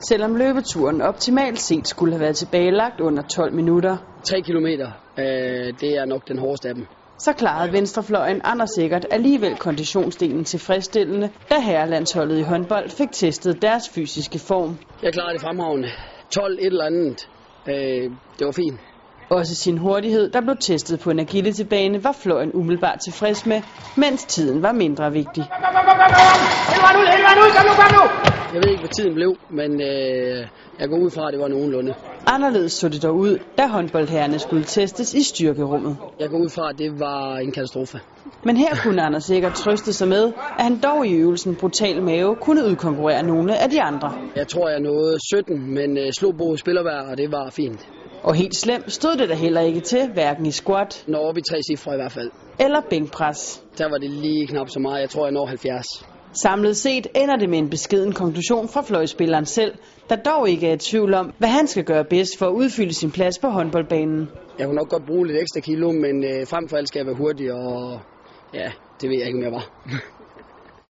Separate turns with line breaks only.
selvom løbeturen optimalt set skulle have været tilbagelagt under 12 minutter.
3 kilometer, øh, det er nok den hårdeste af dem.
Så klarede venstrefløjen Anders sikkert alligevel konditionsdelen tilfredsstillende, da herrelandsholdet i håndbold fik testet deres fysiske form.
Jeg klarede det fremragende. 12 et eller andet. Øh, det var fint.
Også sin hurtighed, der blev testet på en agilitybane, var fløjen umiddelbart tilfreds med, mens tiden var mindre vigtig.
Kom, kom, kom, kom, kom! Hele vejen ud, hele vejen ud! Kom nu, kom nu!
Jeg ved ikke, hvad tiden blev, men øh, jeg går ud fra, at det var nogenlunde.
Anderledes så det dog ud, da håndboldherrerne skulle testes i styrkerummet.
Jeg går ud fra, at det var en katastrofe.
Men her kunne Anders sikkert trøste sig med, at han dog i øvelsen brutal mave kunne udkonkurrere nogle af de andre.
Jeg tror, jeg nåede 17, men øh, slog Bo spillervær, og det var fint.
Og helt slemt stod det der heller ikke til, hverken i squat
Når op i tre cifre i hvert fald.
eller bænkpres.
Der var det lige knap så meget. Jeg tror, jeg når 70.
Samlet set ender det med en beskeden konklusion fra fløjspilleren selv, der dog ikke er i tvivl om, hvad han skal gøre bedst for at udfylde sin plads på håndboldbanen.
Jeg kunne nok godt bruge lidt ekstra kilo, men øh, frem for alt skal jeg være hurtig, og ja, det ved jeg ikke, om jeg var.